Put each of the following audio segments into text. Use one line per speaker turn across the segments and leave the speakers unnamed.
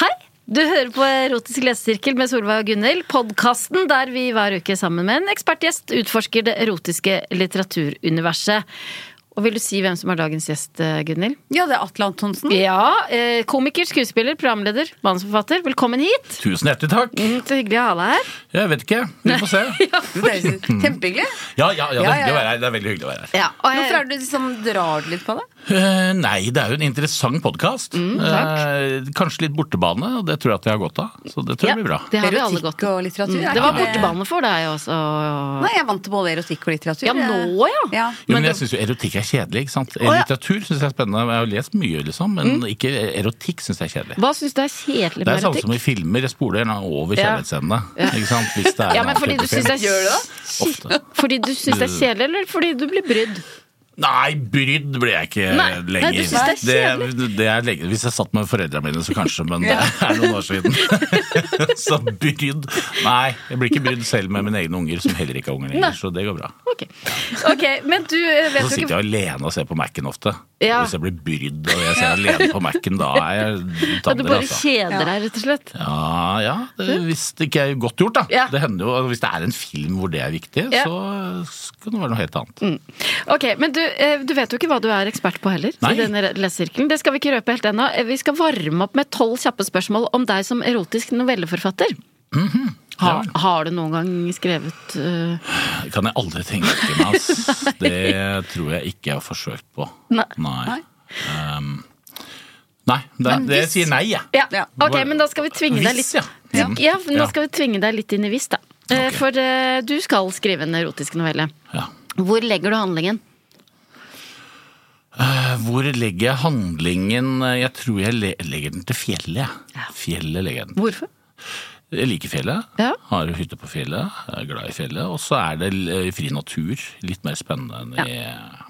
Hei! Du hører på Erotisk lesesirkel med Solveig og Gunhild. Podkasten der vi hver uke sammen med en ekspertgjest utforsker det erotiske litteraturuniverset. Og vil du si hvem som er dagens gjest, eh, Gunhild?
Ja, det er Atle Antonsen.
Ja, eh, komiker, skuespiller, programleder, manusforfatter. Velkommen hit!
Tusen hjertelig takk.
Mm, Så hyggelig å ha deg her.
Jeg vet ikke, vi får se.
Det er jo Kjempehyggelig.
Ja, ja, ja, det
Ja, ja,
er hyggelig å
ja.
være her. Det er veldig hyggelig å være her.
Ja, og jeg,
Hvorfor er det du liksom drar litt på det?
Eh, nei, det er jo en interessant podkast.
Mm, takk.
kanskje litt bortebane, og det tror jeg at jeg har godt av. Så det tror
Ja,
jeg blir bra.
Det har vi alle
Erotikk
godt av.
og litteratur? er
Det var
ikke
bortebane for deg også.
Nei, jeg vant til både erotikk og litteratur.
Ja, nå, ja.
ja.
Jo,
Men
men jeg
det-
syns jo erotikk er kjedelig, ikke sant.
ja.
Litteratur syns jeg er spennende, jeg har lest mye, liksom, men ikke erotikk syns jeg er kjedelig.
Hva syns du er kjedelig
Det er
med
samme som
erotikk?
i filmer, jeg spoler gjerne over
Ja.
kjærlighetsscenene. Ikke sant? Hvis det er
Ja,
en
men fordi du
avsluttet
syns
film.
det er
Ofte.
Fordi du syns
Mm.
det er kjedelig, eller fordi du blir brydd?
Nei, brydd blir jeg ikke
Nei,
lenger.
nei, du synes det er
det, det er lenge. Hvis jeg satt med foreldrene mine, så kanskje, men det er noen år siden. så brydd Nei, jeg blir ikke brydd selv med mine egne unger, som heller ikke har unger
Nei.
lenger, så det går bra.
Ok, Ok, men du eh,
Og
vet
så
jo
sitter
ikke
jeg alene og ser på Mac-en ofte.
Ja.
Hvis jeg blir brydd og jeg ser alene på Mac-en, da er jeg
at du
tander,
bare
altså.
kjeder deg, rett og slett.
Ja, ja, det, hvis det ikke er godt gjort, da.
Ja.
Det hender jo, Hvis det er en film hvor det er viktig,
Ja.
så kan det være noe helt annet.
Ok, Men du, eh, du vet jo ikke hva du er ekspert på heller.
Nei.
I denne lesesirkelen. Det skal vi ikke røpe helt ennå. Eh, Vi skal varme opp med tolv kjappe spørsmål om deg som erotisk novelleforfatter. Ha,
Mhm. Ja.
har du noen gang skrevet eh,
Det kan jeg aldri tenke meg, ass. Det tror jeg ikke jeg har forsøkt på.
Nei.
Nei.
Nei.
Um, nei, det, det
hvis-
sier nei, jeg.
Ja.
Ja.
Ok, men da skal vi tvinge deg litt
Hvis, ja. Mm.
Ja, nå
Ja.
skal vi tvinge deg litt inn i viss, da. Eh,
Ok.
For eh, du skal skrive en erotisk novelle.
Ja.
Hvor legger du handlingen?
Eh, Hvor legger jeg handlingen? Jeg tror jeg le legger den til fjellet. jeg. Fjellet legger jeg den.
Hvorfor?
Jeg liker fjellet.
Ja.
Har hytte på fjellet. Jeg er glad i fjellet. Og så er det l- eh, fri natur. Litt mer spennende enn i eh,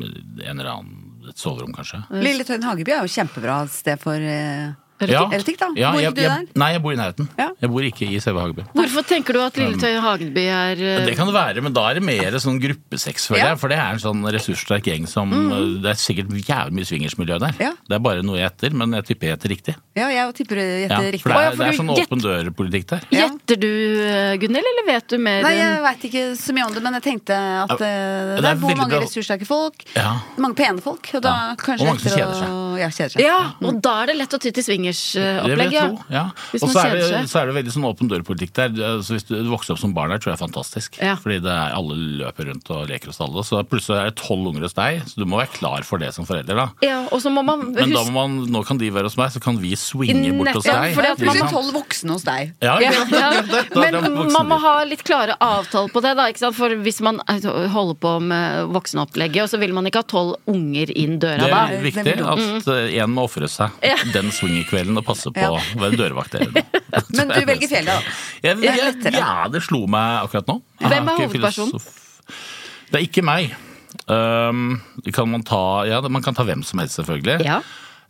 en eller annen et soverom, kanskje.
Lille Tøyen Hageby er jo kjempebra sted for eh, Erotikk, da?
Ja,
Bor
jeg-
ikke du
jeg-
der?
Nei, jeg bor i nærheten.
Ja.
Jeg bor ikke i selve Hageby.
Hvorfor tenker du at Lilletøy Hagenby er eh,
Det kan det være, men da er det mer sånn gruppesex, føler
Ja.
jeg. For det er en sånn ressurssterk gjeng som øh, Det er sikkert jævlig mye swingersmiljø der.
Ja.
Det er bare noe jeg heter, men jeg tipper jeg heter riktig.
Ja, jeg tipper du
Ja,
gjetter
for
riktig.
det
Å ja,
er,
for
det
du
er sånn
gjett-
åpen dør-politikk der.
Ja.
Gjetter du, eh, Gunhild, eller vet du mer?
Nei, jeg
enn-
veit ikke så mye om det, men jeg tenkte at eh,
det
det
er
bor
veldig
mange
bra.
ressurssterke folk.
Ja.
Mange pene folk. Og da
Ja.
kanskje
Og mange
lettere
som kjeder seg.
å- Ja, kjeder seg.
ja, og da er det lett å ty til
Det vil jeg
swingers-opplegget.
tro. Ja.
Hvis
Og
man
så er,
kjeder
det,
seg.
så er det veldig sånn åpen dør-politikk der. Så hvis du vokser opp som barn der, tror jeg er fantastisk.
Ja.
Fordi det er, alle løper rundt og leker hos alle. Så plutselig er det tolv unger hos deg, så du må være klar for det som forelder, da.
Ja, og så må man
Men da
huske
må man, nå kan de være hos meg, så kan vi swinge bort hos
Nettopp,
deg.
fordi at
ikke
man-
Plutselig
sant?
tolv voksne hos deg.
Ja,
ja,
ikke sant?
ja.
Det- det- det- det er
Men
voksenliv.
man må ha litt klare avtaler på det, da. Ikke sant? For hvis man eh, holder på med voksenopplegget, og så vil man ikke ha tolv unger inn døra
Det
da.
er viktig
Det er
Mm.
at eh, en må ofre seg den swingerkvelden og passe på å være dørvakt. eller noe.
Men du velger fjellet, da.
Jeg,
Det er
jeg,
lettere.
ja, det slo meg akkurat nå. Jeg
Hvem er
ikke
hovedpersonen?
filosof- Det er ikke meg. Um, kan man, ta, ja, man kan ta hvem som helst, selvfølgelig.
Ja.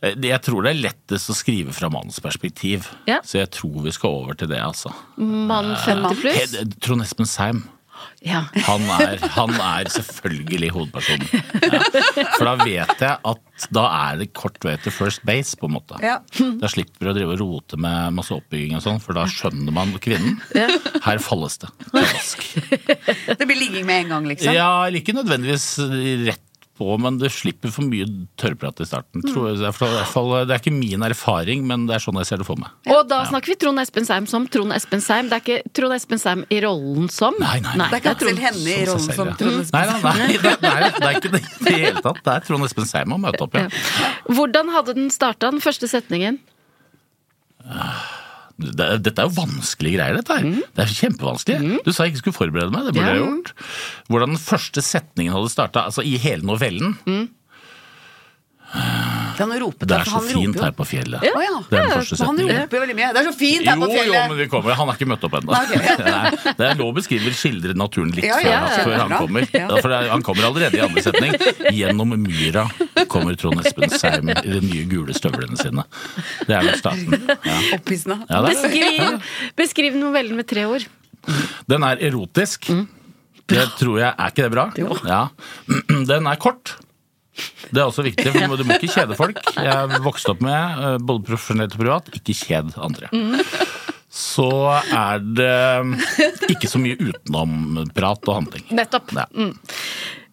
Eh, det- Jeg tror det er lettest å skrive fra mannens perspektiv,
Ja.
så jeg tror vi skal over til det. altså.
Mann 50 pluss.
Hed- Trond Espen Seim.
Ja.
Han er, han er selvfølgelig hovedpersonen. Ja. For da vet jeg at da er det kort vei til first base, på en måte.
Ja.
Da slipper du å drive og rote med masse oppbygging og sånn, for da skjønner man kvinnen. Her falles det. Pladask.
Det blir ligging med en gang, liksom.
Ja, eller ikke nødvendigvis rett på, men du slipper for mye tørrprat i starten. Tror jeg. Det, er for, i hvert fall, det er ikke min erfaring, men det er sånn jeg ser det for meg.
Og da snakker vi Trond Espen Seim som Trond Espen Seim. Det er ikke Trond Espen Seim i rollen som.
Nei, nei,
Det er ikke
Trond.
Aksel Hennie i
Som
rollen
seg
som
sånn selv, ja.
Trond Espen.
Nei, nei, nei, det, nei, det er ikke det i det hele tatt. Det er Trond Espen Seim å møte opp, ja.
Hvordan hadde den starta, den første setningen?
det, dette er jo vanskelige greier, dette
Mm.
her. Det er kjempevanskelig. Du sa jeg ikke skulle forberede meg, det burde jeg gjort. Hvordan den første setningen hadde starta, altså i hele novellen.
Han ropet,
Det er
Mm. for
så
han
fint
roper jo.
her på fjellet.
Å ja.
Det er den første
Men han
setningen.
roper jo veldig mye. Det er så fint her
Jo,
på
jo,
fjellet!
men vi kommer. Han har ikke møtt opp ennå.
Nei, ok, ja.
Nei, Det er lov å beskrive skildre naturen litt
Ja, ja,
før, før han
kjempebra.
kommer.
Ja.
For det er- han kommer allerede i andre setning. Gjennom myra kommer Trond Espen Seim i de nye gule støvlene sine. Det er vel starten. Ja.
Opphissende.
Ja, det er det.
Beskriv, beskriv novellen med tre ord.
Den er erotisk.
Mm.
Det tror jeg Er ikke det bra? Ja. Den er kort. Det er også viktig, for du må- du må ikke kjede folk. Jeg vokste opp med, eh, både profesjonelt og privat, ikke kjed andre.
Mm.
Så er det eh, ikke så mye utenomprat og handling.
Nettopp.
Ja.
Eh,
Var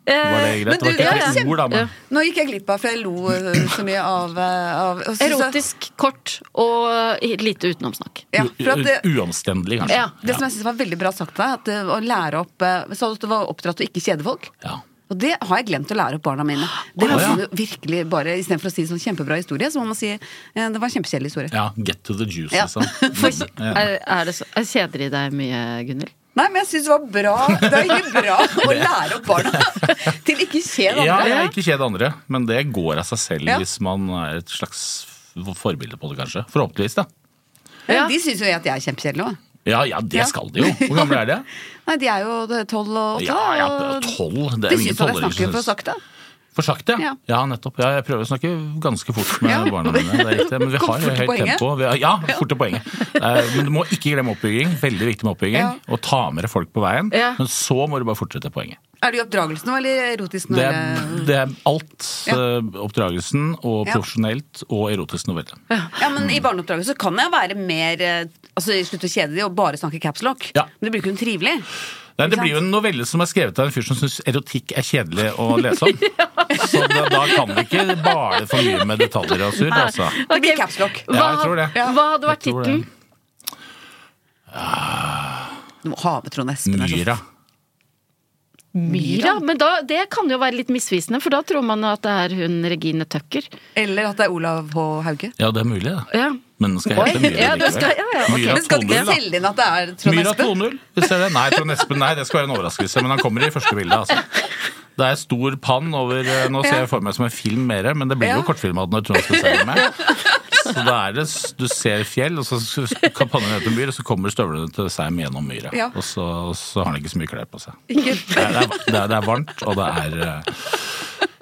det
Mm.
greit?
Men du,
det var ikke
ja,
et
ja.
ord, da. Men
Nå gikk jeg glipp av, for jeg lo øh, så mye av, øh, av og så-
Erotisk, kort og lite utenomsnakk.
Ja, for at det,
u- uomstendelig, kanskje.
Ja,
det som jeg synes var veldig bra sagt av deg, at øh, å lære opp øh, Sa du at du var oppdratt til å ikke kjede folk?
Ja.
Og det har jeg glemt å lære opp barna mine. Det
Å,
var
ja.
sånn virkelig bare, Istedenfor å si sånn kjempebra historie, så må man si eh, det var en kjempekjedelig historie.
ja, get to the juice,
Ja.
liksom.
For,
Ja.
er, er det så, er kjeder de deg mye, Gunhild?
Nei, men jeg syns det var bra. Det er ikke bra å lære opp barna til ikke kjede
Ja,
andre.
ja, ikke kjede andre, men det går av seg selv
Ja.
hvis man er et slags forbilde på det, kanskje. Forhåpentligvis, da.
Ja.
De syns jo at jeg er kjempekjedelig òg.
Ja, ja, det
Ja.
skal de jo. Hvor gamle er de?
Nei, de er jo tolv og åtte.
Ja, ja,
og
tolv. Det
De
er jo
syns at
ingen
jeg
tolvåringer
snakker
som
for
syns-
sakte.
For sakte, ja.
Ja.
ja. nettopp. Ja, jeg prøver å snakke ganske fort med
Ja.
barna mine. Det er riktig. Men vi
Kom fort
har
til
høyt
poenget.
tempo. Vi har, ja, fort til poenget. Eh, Men du må ikke glemme oppbygging. Veldig viktig med oppbygging.
Ja.
Og ta med deg folk på veien.
Ja.
Men så må du bare fortsette poenget.
Er du i oppdragelsen nå, eller erotisk nå?
Det er,
eller?
det er alt.
Ja.
eh, Oppdragelsen og
Ja.
profesjonelt og erotisk novelle.
Ja, men I barneoppdragelse kan jeg være mer eh, Altså, slutte å kjede de og bare snakke caps lock.
Ja.
Men det blir ikke hun trivelig.
Nei, det
Ikke sant?
blir jo en novelle som er skrevet av en fyr som syns erotikk er kjedelig å lese om. Så da, da kan vi ikke bale for mye med detaljer og surr, altså.
Det blir
Ok,
caps lock.
Ja, jeg tror det.
hva hadde vært
Jeg tror det.
tittelen?
Du må ha med Trond Espen. det er sånn. så
Myra.
Myra? Men da, det kan jo være litt misvisende, for da tror man at det er hun Regine Tøkker.
Eller at det er Olav H. Hauge.
Ja, det er mulig, det.
Ja.
Men den skal hete Myra
ja, du
likevel.
skal- ja, ja, ok.
Myra
Men skal du
2.0,
ikke
da.
selge inn at det er Trond
Myra
Espen?
2.0. Hvis det er det. Nei, Trond Espen, nei, det skal være en overraskelse, men han kommer i første bilde, altså. Det er stor pann over eh, Nå ser jeg for meg som en film mer, men det blir jo
Ja.
kortfilm av den når Trond Espen ser med. Så da er det s- Du ser fjell, og så s- kan pannen ned til myr, og så kommer støvlene til Seim gjennom myra.
Ja.
Og så, og så har han ikke så mye klær på seg.
Ikke
Det er, det er- det er, det er varmt, og det er eh,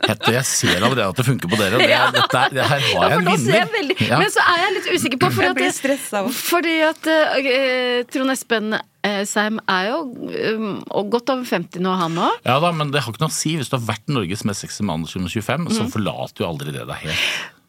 hett. Og jeg ser allerede at det funker på dere. og Det, er- dette er- det her
Ja,
har jeg
for
en
nå ser jeg
vinner.
veldig,
Ja.
Men så er jeg litt usikker på for
Jeg
at
blir
det-
stressa også.
Fordi at eh, Trond Espen eh, Seim er jo um, og godt over 50 nå, han òg.
Ja da, men det har ikke noe å si. Hvis du har vært Norges mest sexy mann siden 25, så
Mm.
forlater jo aldri det deg helt.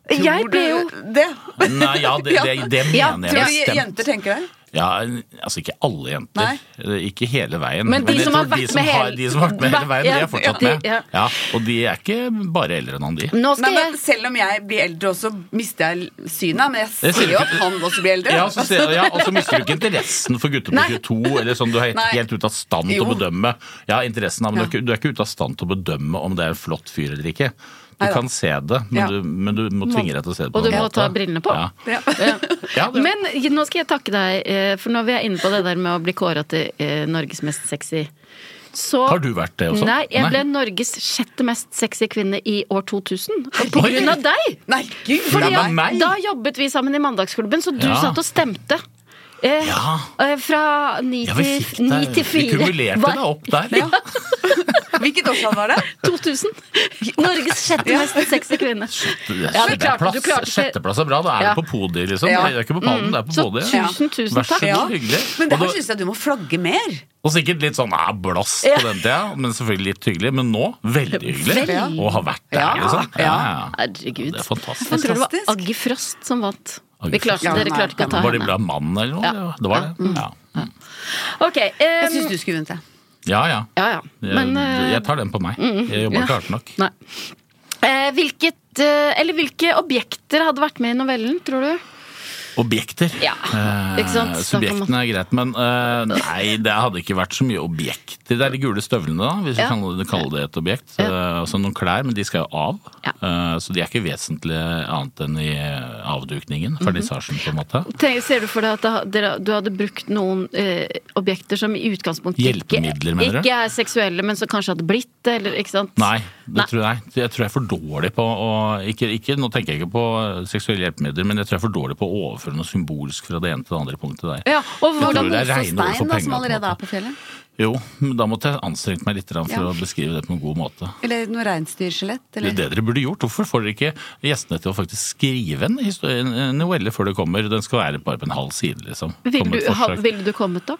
Tror
Jeg ble jo
du det?
Nei, ja, det, det, det mener
Ja,
jeg
Tror du
bestemt.
jenter tenker det?
Ja, altså ikke alle jenter.
Nei.
Eh, Ikke hele veien.
Men de
jeg
som
tror
har vært
som
med
har-
hele-
De som har vært med hele veien, de
Ja,
er fortsatt
ja, de-
med.
ja.
Ja, og de er ikke bare eldre enn han, de.
Nå
Nei,
skal
men
jeg
Selv om jeg blir eldre også, mister jeg synet. Men jeg
Jeg ser
ser jo
ikke-
at han også blir eldre.
Ja, så ser, ja, og så mister du ikke interessen for gutter på
Nei.
22, eller sånn du er helt,
Nei.
helt ute av stand til å
Jo.
bedømme. Ja, interessen, da, men du, er
Ja.
ikke, du er ikke ute av stand til å bedømme om det er en flott fyr eller ikke. Du
Neida.
kan se det, men,
Ja.
du, men du må tvinge deg til å se det. på
Og du
en
må
måte.
ta brillene på.
Ja.
Ja.
Ja, det,
Men nå skal jeg takke deg, eh, for nå vi er inne på det der med å bli kåra til eh, Norges mest sexy. Så,
Har du vært det også?
Nei, jeg ble
Nei.
Norges sjette mest sexy kvinne i år 2000. Og på grunn av deg!
Nei, gud!
Fordi
det er
at-
meg.
meg?
Da jobbet vi sammen i Mandagsklubben, så du
Ja.
satt og stemte. Eh,
Ja.
eh, Fra ni
ja, vi
til,
fikk
ni
deg-
til fire.
Vi kumulerte
var
deg opp der.
Hvilket årstall var det?
2000. Norges sjette mest sexy kvinne. Ja, du klarte-
Sjetteplass
du klarte ikke-
Sjetteplass er bra, da er
Ja. Mm.
du på podiet, liksom.
Ja.
Nei, det er ikke på pallen, det er på
Så
podiet.
tusen, tusen
Vær så
takk.
god, hyggelig.
Men det
Og
her
da-
syns jeg du må flagge mer.
Og sikkert litt sånn eh, blass på
Ja.
den tida, men selvfølgelig litt hyggelig. Men nå, veldig hyggelig.
Veldig.
Og har vært der,
Ja,
liksom. Ja,
ja.
ja.
Herregud.
Det er fantastisk.
Jeg tror det var
Fantastisk.
Aggie Frost som vant.
Aggie
Vi klarte,
Frost. Ja,
dere
nei,
klarte ikke å ta
Var det
henne.
bra mann eller noe?
Ja.
Det var det. Ja.
Ok,
Jeg
eh,
syns du skulle vunnet det.
Ja, ja.
Ja, ja. Men
jeg,
eh,
jeg tar den på meg. Jeg jobba
ja.
ikke hardt nok.
Nei. Eh, hvilket eh, Eller hvilke objekter hadde vært med i novellen, tror du?
Objekter.
Ja,
Eh,
ikke sant?
subjektene er greit, men eh, nei, det hadde ikke vært så mye objekter. Det er de gule støvlene, da, hvis vi
Ja.
kan kalle det et objekt. Eh, altså noen klær, men de skal jo av.
Ja.
Eh, så de er ikke vesentlig annet enn i
Mhm.
avdukningen, vernissasjen, på en måte.
Tenk, ser du for deg at da- dere- du hadde brukt noen eh, objekter som i utgangspunktet ikke,
Hjelpemidler, mener du?
ikke er seksuelle, men som kanskje hadde blitt det? Eller, ikke sant?
Nei, det
Nei.
tror jeg. Jeg tror jeg er for dårlig på å ikke, ikke, Nå tenker jeg ikke på seksuelle hjelpemidler, men jeg tror jeg er for dårlig på å overføre noe symbolsk fra det ene til det andre punktet der.
Ja, og
Jeg
hvordan
tror det er
Mose
rene ord for
Stein, da,
pengene,
som
på en
allerede
måte.
er på fjellet?
Jo, men da måtte jeg anstrengt meg litt grann for
Ja.
å beskrive det på en god måte.
Eller noe reinsdyrskjelett?
Det
eller-
er det dere burde gjort. Hvorfor får dere ikke gjestene til å faktisk skrive en, histo- en en novelle før det kommer? Den skal være bare på en halv side, liksom.
Ville
Komme et
du, ha,
forsøk.
ville du kommet da?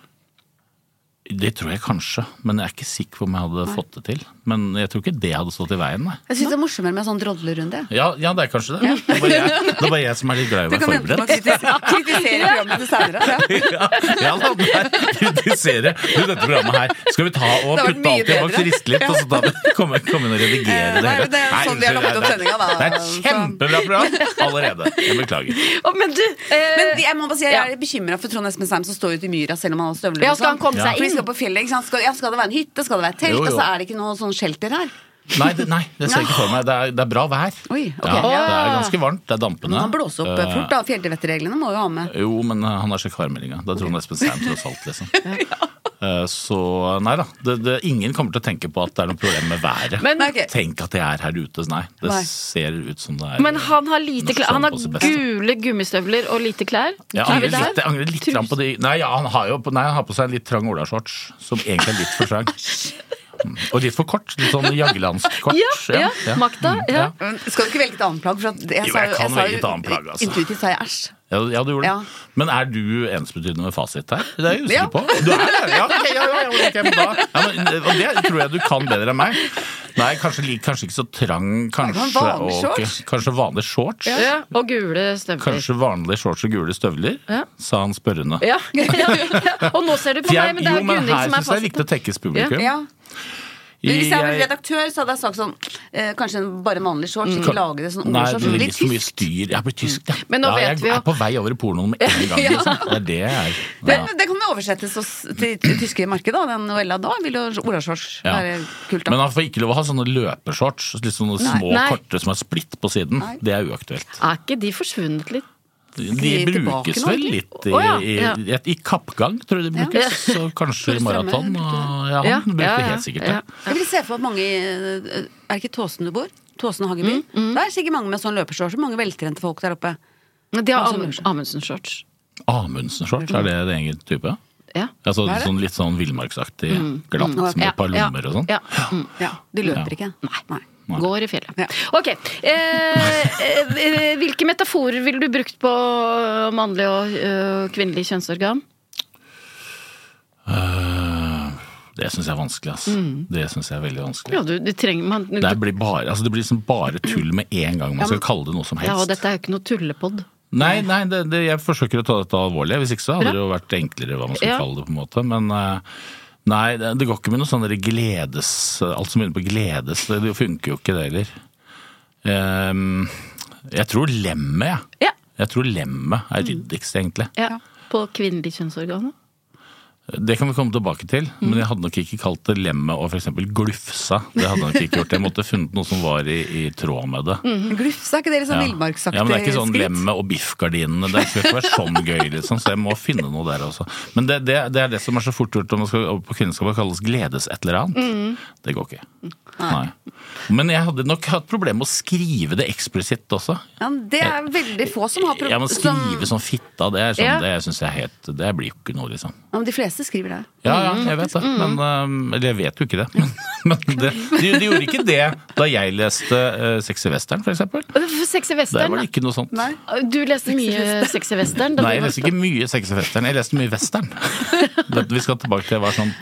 Det tror jeg kanskje, men jeg er ikke sikker på om jeg hadde fått det til. Men jeg tror ikke det hadde stått i veien, nei.
Jeg syns det er morsommere med sånn drodlerunde.
Ja, ja det er kanskje det. Det er bare jeg, det er bare jeg som er litt glad i å
Du
være
kan vente med å
forberedt.
kritisere, kritisere programmet til senere. Ja.
Ja, ja da, nei, kritisere. Du, dette programmet her skal vi ta og
Det har vært
putte
mye
alt i en boks
bedre.
ristelitt, og så ta det, komme, komme inn og redigere det
Eh, nei,
hele.
det er sånn vi har
unnskyld,
lagt opp
det er-
sendinga, da.
Det er et kjempebra program allerede. Jeg beklager.
Å, men du, eh,
Men jeg må bare si, jeg
Ja.
er bekymra for Trond Espen Seim som står ute i myra selv om han har støvler.
Ja,
og
skal han
sånn.
komme seg
For de
inn?
skal på fjellet, ikke sant? Skal, ja, skal det være en hytte, skal det være et telt,
Jo, jo.
og så er det ikke noe sånn shelter her.
Nei, det, nei, det ser jeg ikke for meg. Det er, det er bra vær.
Oi, ok.
ja, det er
Ja.
ganske varmt. Det er dampende.
Men han blåser opp eh,
Eh,
fort, da. Fjellvettreglene må jo ha med.
Jo, men eh, han har sjekket værmeldinga. Det er Trond Espen Seim tross alt, liksom. Eh, Så nei da. Det, det, ingen kommer til å tenke på at det er noe problem med været.
men,
Nei, ok.
Tenk at jeg er her ute. Nei, det
Nei.
ser ut som det er
men han har lite
Norsk
klær. Han
sånn på sitt
har
beste.
gule gummistøvler og lite klær.
jeg
Er vi
angrer
der?
litt, jeg angrer litt grann på de Nei, ja, han har jo på- nei, han har på seg en litt trang olashorts, som egentlig er litt for trang. Mm, Og litt for kort. Litt sånn jaglandsk kort.
Ja, ja, Magda,
Mm,
ja.
Men Skal du ikke velge et annet plagg? For at jeg,
Jo,
sa
jeg kan
sa
velge et annet plagg, altså.
Intuitivt sa jeg æsj.
Ja, ja, du gjorde det.
Ja.
Men er du ensbetydende med fasit her? Det er jeg usikker
Ja.
på. Du er det? Ja, ok, ja, ja, ja, ok, men da. Ja, men, eh, og det tror jeg du kan bedre enn meg. Nei, kanskje, lik- kanskje ikke så trang. Kanskje
Kanskje vanlig
og-
shorts?
kanskje vanlig shorts?
Ja, og gule støvler.
Kanskje vanlige shorts og gule støvler?
Ja.
Sa han spørrende.
Ja. ja. Og nå ser du på
For
meg, men det er
jo,
jo
men
Gunhild
her
som er
syns jeg det er viktig
fast.
å tekkes publikum.
Ja. Men hvis jeg var
Jeg-
redaktør, så hadde jeg sagt sånn eh, Kanskje en- bare en vanlig shorts, ikke lage det sånn
Nei,
ordshorts.
det
Sånn,
blir
litt
så mye
tyst.
styr. Jeg blir tysk, ja.
Men nå
ja,
vet
jeg
vi jo-
er på vei over i pornoen med en gang. Liksom. Det er det jeg er.
Det,
Ja.
det kan jo oversettes oss til det tyske markedet, da. Den novella da vil jo olashorts
Ja.
være kult.
Men
da
han får ikke lov å ha sånne løpeshorts, litt sånne små,
Nei.
korte som er splitt på siden. Det er uaktuelt.
Er ikke de forsvunnet litt?
De
Sklir tilbake
brukes
nå,
vel
egentlig?
litt i,
Å, ja,
i,
ja.
i, i kappgang, tror jeg de
Ja.
brukes. Og kanskje
Tore
i maraton.
Strømme
Og,
brukte
ja, han
Ja,
brukte
ja, ja,
helt sikkert det.
ja.
Jeg vil se for meg at mange eh, Er det ikke Tåsen du bor? Tåsen og
Mm,
Hageby? Det er sikkert mange med sånn løpershorts. Mange veltrente folk der oppe.
De har
Altså,
Am-
kanskje.
Amundsen-shorts.
Amundsen-shorts, er det det egen type?
Ja.
Altså,
Hva er det?
sånn, litt sånn villmarksaktig, glatt med
Ja,
et par
Mm. ja,
lommer og sånn.
Ja. Mm.
Ja, De løper ikke. Nei.
Går i fjellet.
Ja.
Ok. Eh, eh, hvilke metaforer ville du brukt på mannlig og eh, kvinnelig kjønnsorgan?
Øh, Det syns jeg er vanskelig, ass.
Mm.
Det syns jeg er veldig vanskelig.
Ja, du, du trenger man, du,
Det
ja,
blir bare, altså det blir liksom bare tull med en gang man skal kalle det noe som
og
helst.
dette er jo ikke noe tullepod.
Nei, nei det, det, jeg forsøker å ta dette alvorlig. Hvis ikke så hadde det jo vært enklere hva man skulle
Ja.
kalle det. på en måte, men... eh, Nei, det det går ikke med noe sånn der gledes Alt som begynner på gledes, det, det funker jo ikke det heller. Ehm, jeg tror lemmet, jeg.
Ja.
Jeg tror lemmet
Mm.
er ryddigst, egentlig.
ja. På kvinnelig kjønnsorgan. da.
Det kan vi komme tilbake til,
Mm.
men jeg hadde nok ikke kalt det lemmet og f.eks. glufsa. Det hadde jeg nok ikke gjort. Jeg måtte funnet noe som var i, i tråd med
Mm.
det.
Glufsa, er ikke det litt sånn
Ja.
villmarksaktig
Mm-hmm. Ja, men det er ikke sånn
skritt?
lemme og biffgardinene. Det skal ikke være sånn gøy, liksom. Så jeg må finne noe der også. Men det, det, det er det som er så fort gjort om man skal over på kvinneskap og kalles gledes et eller annet. Det går ikke. Nei. Men jeg hadde nok hatt problemer med å skrive det eksplisitt også.
Ja, men det er veldig få som har
Ja, men skrive sånn fitta, det er sånn,
Ja.
det synes jeg er helt Det blir jo ikke noe, liksom.
Ja, men de fleste skriver det.
Ja, ja, jeg vet det. Men, um, eller jeg vet jo ikke det. Men, men det, de, de gjorde ikke det da jeg leste uh, Sex i Western, for eksempel.
Sexy
Der var
western.
det ikke noe sånt.
Nei.
da. Du leste mye sexy western? da
Nei,
du
jeg
var-
leste ikke mye sex og western. Jeg leste mye western. Det- eh, Vi skal tilbake til jeg var sånn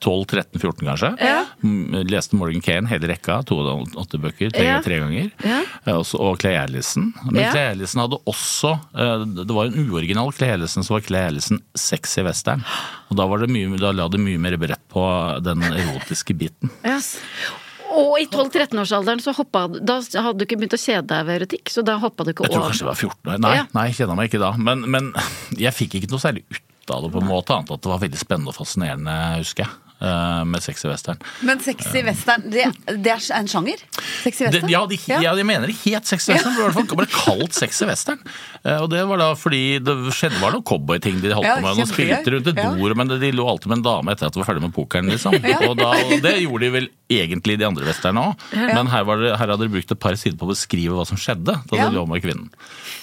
12-13-14, kanskje. Mm, Leste Morgan Kane hele rekka. 208 bøker, tre,
Ja.
tre ganger.
Ja.
Eh, også- Og Clay Ellison. Men
Ja.
Clay Ellison hadde også eh, Det var en uoriginal Clay Ellison som var Clay Ellison sexy western. Og da, var det mye, da la det mye mer brett på den erotiske biten.
Og i 12-13-årsalderen så hoppa Da hadde du ikke begynt å kjede deg ved erotikk, så da hoppa du ikke
Jeg tror
over.
kanskje det var 14 år. Nei,
Ja.
nei jeg kjenner meg ikke da. Men, men jeg fikk ikke noe særlig ut av det, på en måte, annet enn at det var veldig spennende og fascinerende, husker jeg. eh, Med sexy western.
Men sexy western, det, det er en sjanger? Sexy
Det,
western?
ja, de, ja. de mener det het sexy western, for det var i hvert fall ble kalt sexy western. Eh, Og det var da fordi det skjedde var noen cowboyting de holdt
Ja,
på med. De
kjempegøy.
spilte rundt et
Ja.
bord, men de lå alltid med en dame etter at de var ferdig med pokeren, liksom. Og, da, og det gjorde de vel egentlig de andre westerne òg, men her, var det, her hadde de brukt et par sider på å beskrive hva som skjedde da de
Ja.
lå med kvinnen.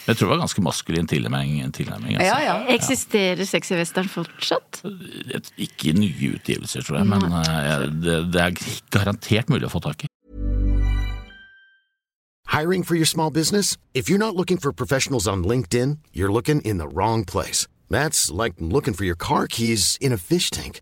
Jeg tror det var ganske maskulin tilnærming. tilnærming altså.
ja, ja.
Eksisterer sexy western fortsatt?
Et- Ikke i nye utgivelser, tror jeg, men eh, jeg- det, det er garantert mulig å få tak i.
Hiring for your small business? If you're not looking for professionals on LinkedIn, you're looking in the wrong place. That's like looking for your car keys in a fish tank.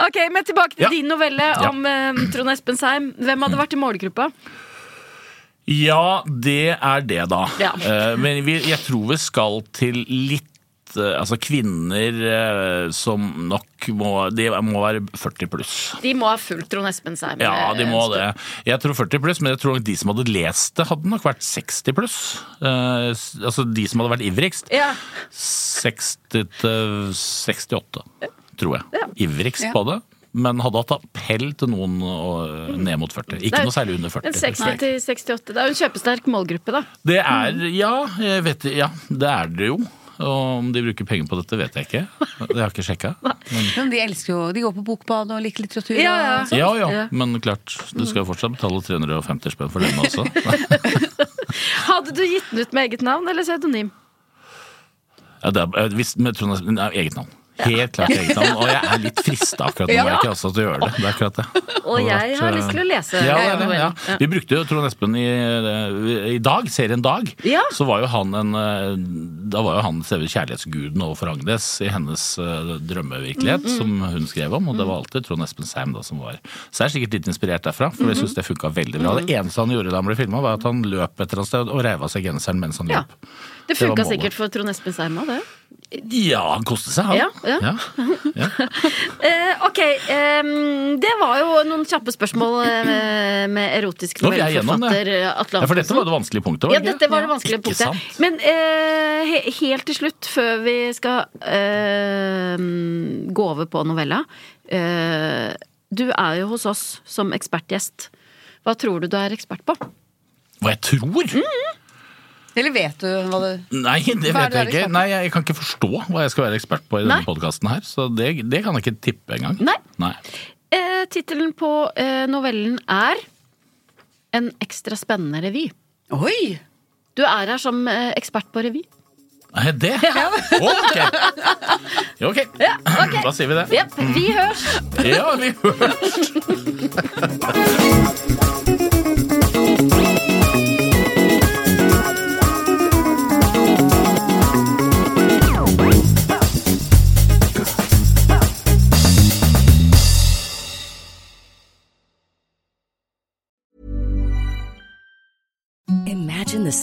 Ok, men tilbake til
Ja.
din novelle
Ja.
om eh, Trond Espen Seim. Hvem hadde vært i målgruppa?
Ja, det er det, da.
Ja.
Eh, Men vi, jeg tror vi skal til litt eh, Altså kvinner eh, som nok må De må være 40 pluss.
De må ha fulgt Trond Espen Seim.
Ja, de må
eh,
det. Jeg tror 40 pluss, men jeg tror nok de som hadde lest det, hadde nok vært 60 pluss. Eh, s- Altså de som hadde vært ivrigst.
Ja.
60 til 68, tror jeg. Ivrigst
Ja.
på det. Men hadde hatt appell til noen og eh, ned mot 40.
Det
Ikke
er-
noe særlig under 40.
Men
tror jeg.
60 til 68, det er jo en kjøpesterk målgruppe, da.
Det er Ja, jeg vet, ja det er det jo. Og om de bruker penger på dette, vet jeg ikke. Det har jeg ikke sjekka.
Men de elsker jo De går på bokbad og liker litteratur.
Ja, ja.
Og sånn.
Ja, ja,
Ja.
men klart, du skal jo fortsatt betale 350 spenn for den også.
Hadde du gitt den ut med eget navn eller pseudonym?
Ja, det er, eh, hvis, med Trond Espen- nei, eget navn. Helt klart eget navn. Og jeg er litt frista akkurat nå. Jeg er ikke altså til å gjøre det. Det er akkurat det.
Og
Det hadde
jeg
vært,
har
eh,
lyst til å lese
Ja, det er det,
novellen.
ja. Vi brukte jo Trond Espen i, i dag, serien Dag.
Ja.
Så var jo han en eh, Da var jo han selve kjærlighetsguden overfor Agnes i hennes eh,
Mm,
drømmevirkelighet, som hun skrev om. Og det var alltid Trond Espen Seim da som var Så jeg er sikkert litt inspirert derfra, for jeg
Mm-hmm.
syns det funka veldig bra. Det eneste han gjorde da han ble filma, var at han løp et eller annet sted og reiv av seg genseren mens han
Ja.
løp.
Det
var
funka
målet.
sikkert for Trond Espen Seim òg, det.
Ja, han koste seg, han.
Ja, ja.
ja.
Eh, ok, ehm, det var jo noen kjappe spørsmål eh, med erotisk
Nå vil jeg gjennom det.
novellforfatter Atle
Ja, for dette
Antonsen.
var det vanskelige punktet, var
Ja,
det ikke?
dette var det vanskelige
Ikke
punktet.
sant?
Men eh, he helt til slutt, før vi skal eh, gå over på novella eh, Du er jo hos oss som ekspertgjest. Hva tror du du er ekspert på?
Hva jeg tror?
Mm.
Eller vet du hva det
Nei, det
Hva er
vet
det du
jeg
er
ikke.
ekspert på?
Nei, Jeg kan ikke forstå hva jeg skal være ekspert på i denne
Nei.
podkasten her. Så det, det kan jeg ikke tippe engang.
Nei.
Nei.
Eh, Tittelen på eh, novellen er En ekstra spennende revy.
Oi!
Du er her som eh, ekspert på revy.
Nei, det? Ok! Ja, ok.
ok.
Da sier vi det.
Jepp, vi hørs!
Ja, vi høres!
Imagine the